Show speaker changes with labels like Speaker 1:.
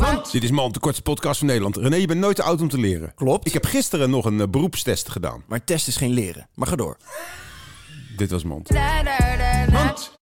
Speaker 1: Mand.
Speaker 2: Dit is Man, de kortste podcast van Nederland. René, je bent nooit te oud om te leren.
Speaker 1: Klopt.
Speaker 2: Ik heb gisteren nog een eh, beroepstest gedaan.
Speaker 1: Maar test is geen leren. Maar ga door.
Speaker 2: Dit was Mand.
Speaker 3: Da, da, da, da.